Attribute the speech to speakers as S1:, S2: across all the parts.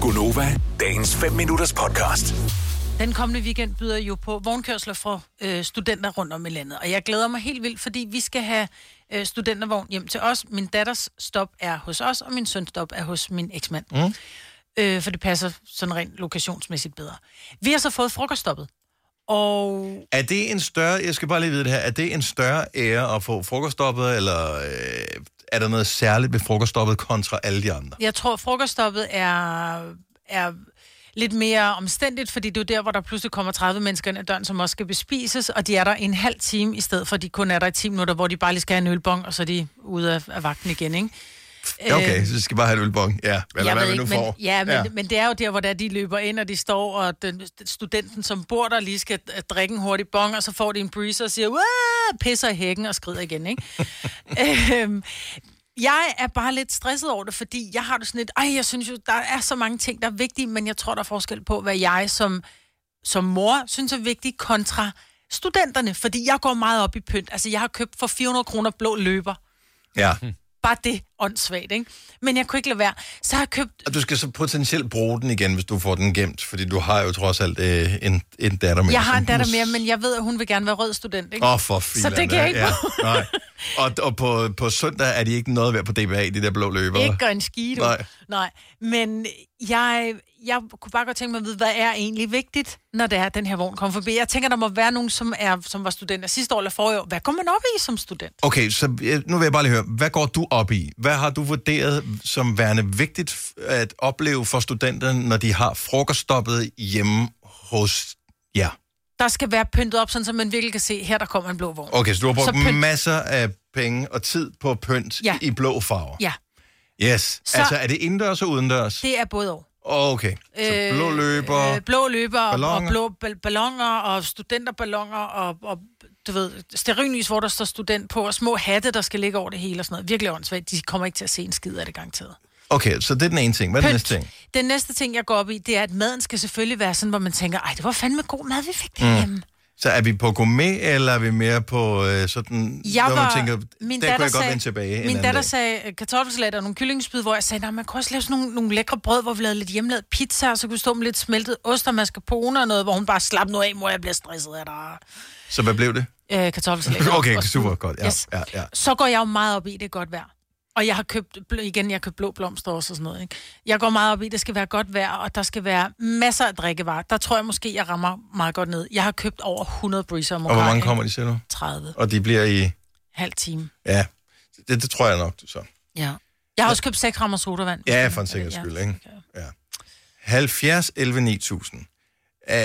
S1: Gunova, dagens 5 minutters podcast.
S2: Den kommende weekend byder jo på vognkørsler fra øh, studenter rundt om i landet. Og jeg glæder mig helt vildt, fordi vi skal have øh, studentervogn hjem til os. Min datters stop er hos os, og min søns stop er hos min eksmand. Mm. Øh, for det passer sådan rent lokationsmæssigt bedre. Vi har så fået frokoststoppet. Og
S3: Er det en større, jeg skal bare lige vide det her, er det en større ære at få frokoststoppet, eller øh, er der noget særligt ved frokoststoppet kontra alle de andre?
S2: Jeg tror, frokoststoppet er, er lidt mere omstændigt, fordi det er jo der, hvor der pludselig kommer 30 mennesker ind ad døren, som også skal bespises, og de er der en halv time, i stedet for at de kun er der i 10 minutter, hvor de bare lige skal have en ølbong, og så er de ude af, af vagten igen, ikke?
S3: Ja,
S2: Øh,
S3: okay, så skal bare have et ølbong. Ja, eller hvad vi nu
S2: men,
S3: får.
S2: ja, men, ja, men det er jo der, hvor der de løber ind, og de står, og den, studenten, som bor der, lige skal øh, drikke en hurtig bong, og så får de en breezer og siger, Wah! pisser i hækken og skrider igen, ikke? øhm, jeg er bare lidt stresset over det, fordi jeg har det sådan lidt, ej, jeg synes jo, der er så mange ting, der er vigtige, men jeg tror, der er forskel på, hvad jeg som, som mor synes er vigtigt, kontra studenterne, fordi jeg går meget op i pynt. Altså, jeg har købt for 400 kroner blå løber.
S3: ja.
S2: Bare det, åndssvagt, ikke? Men jeg kunne ikke lade være. Så har jeg købt
S3: Og du skal så potentielt bruge den igen, hvis du får den gemt, fordi du har jo trods alt øh, en, en datter med.
S2: Jeg har en
S3: som-
S2: datter mere, men jeg ved, at hun vil gerne være rød student, ikke?
S3: Åh, oh, for filan,
S2: Så det kan jeg ikke bruge.
S3: Nej. Og, og på, på søndag er de ikke noget værd på DBA, de der blå løbere.
S2: Ikke gør en skide.
S3: Nej.
S2: Nej. Men jeg, jeg kunne bare godt tænke mig at vide, hvad er egentlig vigtigt, når det er, at den her vogn kommer forbi. Jeg tænker, der må være nogen, som, er, som var studenter sidste år eller forrige år. Hvad går man op i som student?
S3: Okay, så øh, nu vil jeg bare lige høre, hvad går du op i? Hvad har du vurderet som værende vigtigt f- at opleve for studenterne, når de har frokoststoppet hjemme hos jer?
S2: Der skal være pyntet op, sådan, så man virkelig kan se, her der kommer en blå vogn.
S3: Okay, så du har brugt
S2: Så pynt.
S3: masser af penge og tid på pynt
S2: Ja.
S3: ja. i blå farver.
S2: Ja,
S3: Yes.
S2: Så-
S3: Så... Altså, er det indendørs og udendørs?
S2: det er både år.
S3: Okay, så blå løber.
S2: Øh, blå løber ballonger. og
S3: Balloner.
S2: blå bal- ballonger og studenterballoner og, og du ved, stearinlys, hvor der står student på, og små hatte, der skal ligge over det hele og sådan noget. Virkelig åndssvagt. De kommer ikke til at se en skid af det garanteret.
S3: Okay, så det er den ene ting. Hvad er den næste ting?
S2: Den næste ting, jeg går op i, det er, at maden skal selvfølgelig være sådan, hvor man tænker, ej, det var fandme god mad, vi fik derhjemme. Mm.
S3: Så er vi på gourmet, eller er vi mere på øh, sådan,
S2: Jeg
S3: hvor
S2: var,
S3: man tænker, der kunne jeg godt vende tilbage en
S2: min
S3: anden
S2: datter
S3: dag.
S2: sagde øh, kartoffelsalat og nogle kyllingespyd, hvor jeg sagde, nej, man kunne også lave sådan nogle, nogle lækre brød, hvor vi lavede lidt hjemmelavet pizza, og så kunne vi stå med lidt smeltet ost og mascarpone og noget, hvor hun bare slap nu af, mor, jeg bliver stresset af dig.
S3: Så hvad blev det?
S2: øh, kartoffelsalat.
S3: Okay,
S2: Og-
S3: super godt. Ja,
S2: Yes.
S3: ja, ja.
S2: Så går jeg jo meget op i, det er godt vejr. Og jeg har købt, bl- igen, jeg har købt blå blomster også og sådan noget. Ikke? Jeg går meget op i, det skal være godt vejr, og der skal være masser af drikkevarer. Der tror jeg måske, jeg rammer meget godt ned. Jeg har købt over 100 breezer om
S3: Og hvor
S2: Mokaj,
S3: mange
S2: ikke?
S3: kommer de selv nu?
S2: 30.
S3: Og de bliver i...
S2: Halv time.
S3: Ja, det, det tror jeg nok, du så.
S2: Ja. Jeg har også købt 6 rammer sodavand.
S3: Ja, for en sikkerheds skyld, ikke? Ja. 70 11 9000. Uh,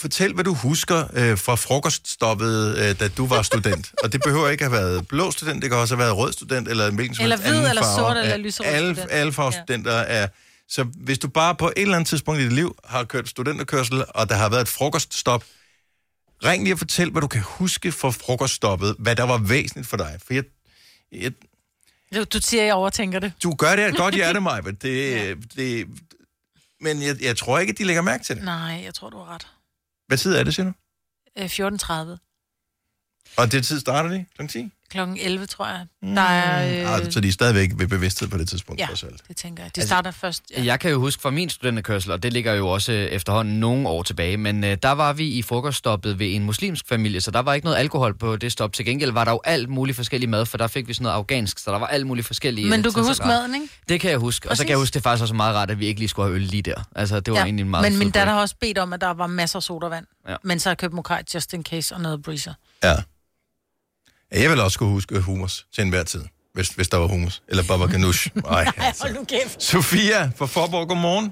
S3: fortæl, hvad du husker uh, fra frokoststoppet, uh, da du var student. og det behøver ikke at have været blå student, det kan også have været rød student, eller en hvilken som
S2: Eller
S3: helst
S2: hvid,
S3: anden
S2: eller
S3: farve.
S2: sort, eller
S3: Ja,
S2: lyserød
S3: Alle,
S2: student.
S3: alle
S2: Ja.
S3: farvestudenter er... Så hvis du bare på et eller andet tidspunkt i dit liv har kørt studenterkørsel, og der har været et frokoststop, ring lige og fortæl, hvad du kan huske fra frokoststoppet, hvad der var væsentligt for dig. For jeg, jeg,
S2: Du, du siger, jeg overtænker det.
S3: du gør det af et godt hjerte, Maja. Det, ja. det, men jeg, jeg tror ikke, at de lægger mærke til det.
S2: Nej, jeg tror, du har ret.
S3: Hvad tid er det, siger du?
S2: Øh, 14.30.
S3: Og det tid starter de? Kl. 10?
S2: Klokken 11, tror jeg.
S3: Mm.
S2: Der er...
S3: Øh.
S2: Øh,
S3: Så de er stadigvæk ved bevidsthed på det tidspunkt,
S2: ja,
S3: trods alt. Altså,
S2: det tænker jeg. De starter først... Ja.
S4: Jeg kan jo huske fra min studenterkørsel, og det ligger jo også øh, efterhånden nogle år tilbage, men øh, der var vi i frokoststoppet ved en muslimsk familie, så der var ikke noget alkohol på det stop. Til gengæld var der jo alt muligt forskellig mad, for der fik vi sådan noget afghansk, så der var alt muligt forskellige...
S2: Men du
S4: øh,
S2: kan huske
S4: tilsætninger.
S2: maden, ikke?
S4: Det kan jeg huske, og så kan jeg
S2: Præcis.
S4: huske, det er faktisk også meget rart, at vi ikke lige skulle have øl lige der. Altså, det var ja. egentlig en meget
S2: men
S4: fed
S2: min
S4: break.
S2: datter har også bedt om, at der var masser af sodavand. Ja.
S4: Ja.
S2: Men så har jeg købt Mokai just in case og noget breezer.
S3: Ja. ja. Jeg vil også kunne huske hummus til enhver tid, hvis, hvis der var hummus. Eller baba ganoush. Ej, altså.
S2: kæft.
S3: Sofia fra Forborg, godmorgen.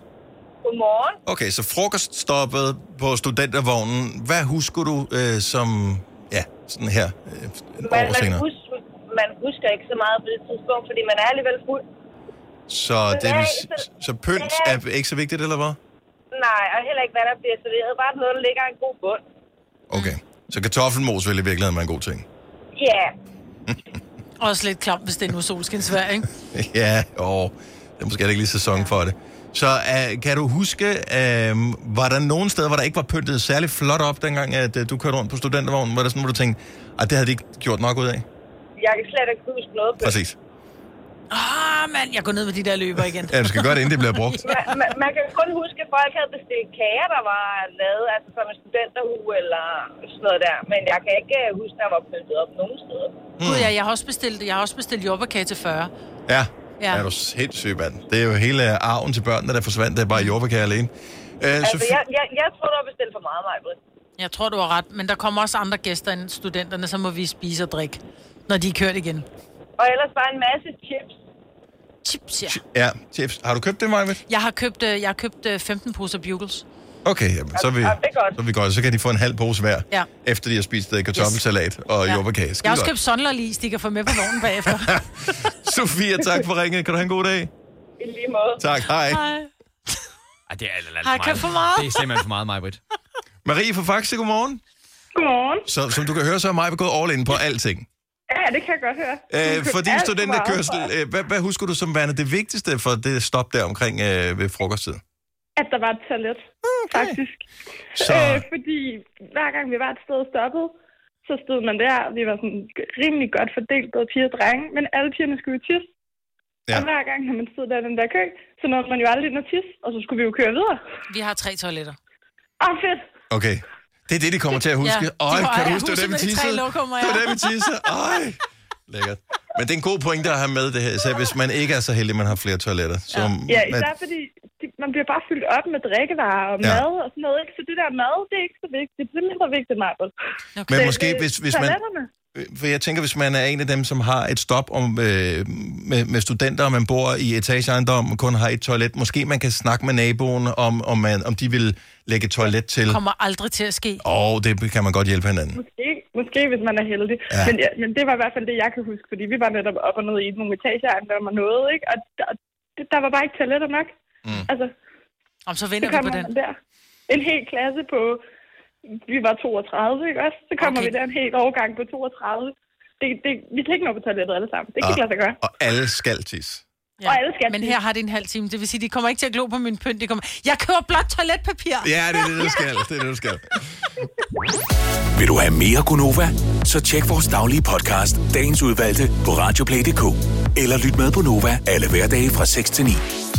S5: Godmorgen.
S3: Okay, så frokoststoppet på studentervognen. Hvad husker du øh, som... Ja, sådan her. Øh, et
S5: Man,
S3: år
S5: man,
S3: senere.
S5: hus, man husker ikke så meget på det tidspunkt, fordi man er alligevel fuld.
S3: Så, det, vil s-
S5: Nej, så-
S3: så pynt er ikke så vigtigt, eller hvad?
S5: Nej, og heller ikke, hvad der bliver serveret. Bare noget, der ligger en god bund.
S3: Okay. Så kartoffelmos vil i virkeligheden være en god ting.
S5: Ja,
S2: Også lidt klam, hvis det er nu solskinsvær, ikke?
S3: ja, og det er måske heller ikke lige sæson for det. Så uh, kan du huske, uh, var der nogen steder, hvor der ikke var pyntet særlig flot op, dengang at, uh, du kørte rundt på studentervognen? Var der sådan, hvor du tænkte, at det havde de ikke gjort nok ud af?
S5: jeg kan slet ikke huske noget på det.
S3: Præcis.
S2: Åh, oh, mand, jeg går ned med de der løber igen.
S3: Ja, du skal godt, inden det bliver brugt.
S5: Man, man, man kan kun huske, at folk havde bestilt kager, der var lavet, altså som en studenterhue eller sådan noget der. Men jeg kan ikke øh, huske, der var pyntet op nogen steder.
S2: Gud, ja, jeg har også bestilt, jeg har også bestilt jordbærkage til 40.
S3: Ja.
S2: Ja.
S3: ja. Er du sindssyg, mand? Det er jo hele øh, arven til børnene, der forsvandt. Det er bare jordbærkage alene. Øh,
S5: Altså,
S3: Sofie-
S5: jeg, jeg, jeg tror, der var bestilt for meget, Majbrit.
S2: Jeg tror, du har ret, men der kommer også andre gæster end studenterne, så må vi spise og drikke, når de er kørt igen.
S5: Og ellers bare en masse chips.
S2: Chips, ja.
S3: Ja, chips. Har du købt det, Marvitt?
S2: Jeg har købt, øh, jeg har købt øh, 15 poser bugles.
S3: Okay, jamen, så, er vi,
S5: Ja, det er godt.
S3: så er vi godt. Så kan de få en halv pose hver,
S2: Ja.
S3: efter de har spist øh, kartoffelsalat og
S2: Ja.
S3: jordbærkage.
S2: Jeg har også
S3: Skide
S2: købt sondlerlis, de kan få med på vognen bagefter.
S3: godt. Sofia, tak for ringet. Kan du have en god dag?
S5: I lige måde.
S3: Tak, hej.
S2: Hej.
S4: Ej, det er alt, alt, alt
S2: Har jeg købt for meget?
S4: Det er simpelthen for meget, Majbrit.
S3: Marie fra Faxe, godmorgen.
S6: Godmorgen.
S3: Så, som du kan høre, så er mig gået all in på alting.
S6: Ja, det kan jeg godt høre.
S3: Øh, for din
S6: Alt for
S3: studenterkørsel,
S6: meget.
S3: øh, hvad, hvad husker du som værende det vigtigste for det stop der omkring øh, ved frokosttid?
S6: At der var et toilet, okay. Mm, faktisk.
S3: øh. Så,
S6: Øh, fordi hver gang vi var et sted og stoppede, så stod man der, og vi var sådan rimelig godt fordelt, både piger og drenge, men alle pigerne skulle jo tisse.
S3: Ja.
S6: Ja. Og hver gang, når man stod der i den der kø, så nåede man jo aldrig ind og tisse, og så skulle vi jo køre videre.
S2: Vi har tre toiletter.
S6: Åh, fedt!
S3: okay. Det er det, de kommer til at huske.
S2: Ja, de
S3: Øj,
S2: går,
S3: kan du
S2: "Ej,
S3: huske, det var
S2: huset
S3: det, vi
S2: med de tre
S3: tissede? Det
S2: lokummer, ja."
S3: var det, vi tissede. Øj, lækkert. Men det er en god pointe at have med det her, især hvis man ikke er så heldig, at man har flere toiletter. Så,
S6: Ja,
S3: at,
S6: især fordi de, man bliver bare fyldt op med drikkevarer og
S3: Ja.
S6: ja. mad og sådan noget, ikke? Så det der mad, det er ikke så vigtigt. Det er mindre vigtigt, Marbel.
S3: men
S6: Det-
S3: måske,
S6: det-
S3: hvis, hvis man...
S6: toiletterne.
S3: For jeg tænker, hvis man er en af dem, som har et stop om, øh, med, med studenter, og man bor i etageejendom og kun har et toilet, måske man kan snakke med naboen om, om, man, om de vil lægge et toilet til.
S2: Kommer aldrig til at ske.
S3: Og det kan man godt hjælpe hinanden.
S6: Måske, måske hvis man er heldig.
S3: Ja.
S6: Ja. Men, ja, men det var i hvert fald det, jeg kan huske, fordi vi var netop op og ned i nogle etageejendomme og noget, ikke? Og der, det- der var bare ikke toiletter nok. Mm. Altså,
S2: Om så
S6: så
S2: vinder vi
S6: kommer
S2: på den.
S6: man der. En hel klasse på, vi var 32, ikke også? Så kommer
S2: Okay.
S6: okay. vi der en hel årgang på 32. Det, det, vi kan ikke nå på toilettet alle sammen. Det kan
S3: Ah.
S6: ikke lade sig gøre.
S3: Og alle skal tisse.
S6: Og alle skal
S2: Men
S6: tisse.
S2: her har det en halv time. Det vil sige, de kommer ikke til at glo på min pynt. De kommer, jeg køber blot toiletpapir.
S3: Ja, det er det, du skal. Det er det, du skal.
S1: Vil du have mere Gunova? Så tjek vores daglige podcast, dagens udvalgte, på radioplay.dk. Eller lyt med på Nova alle hverdage fra 6 til 9.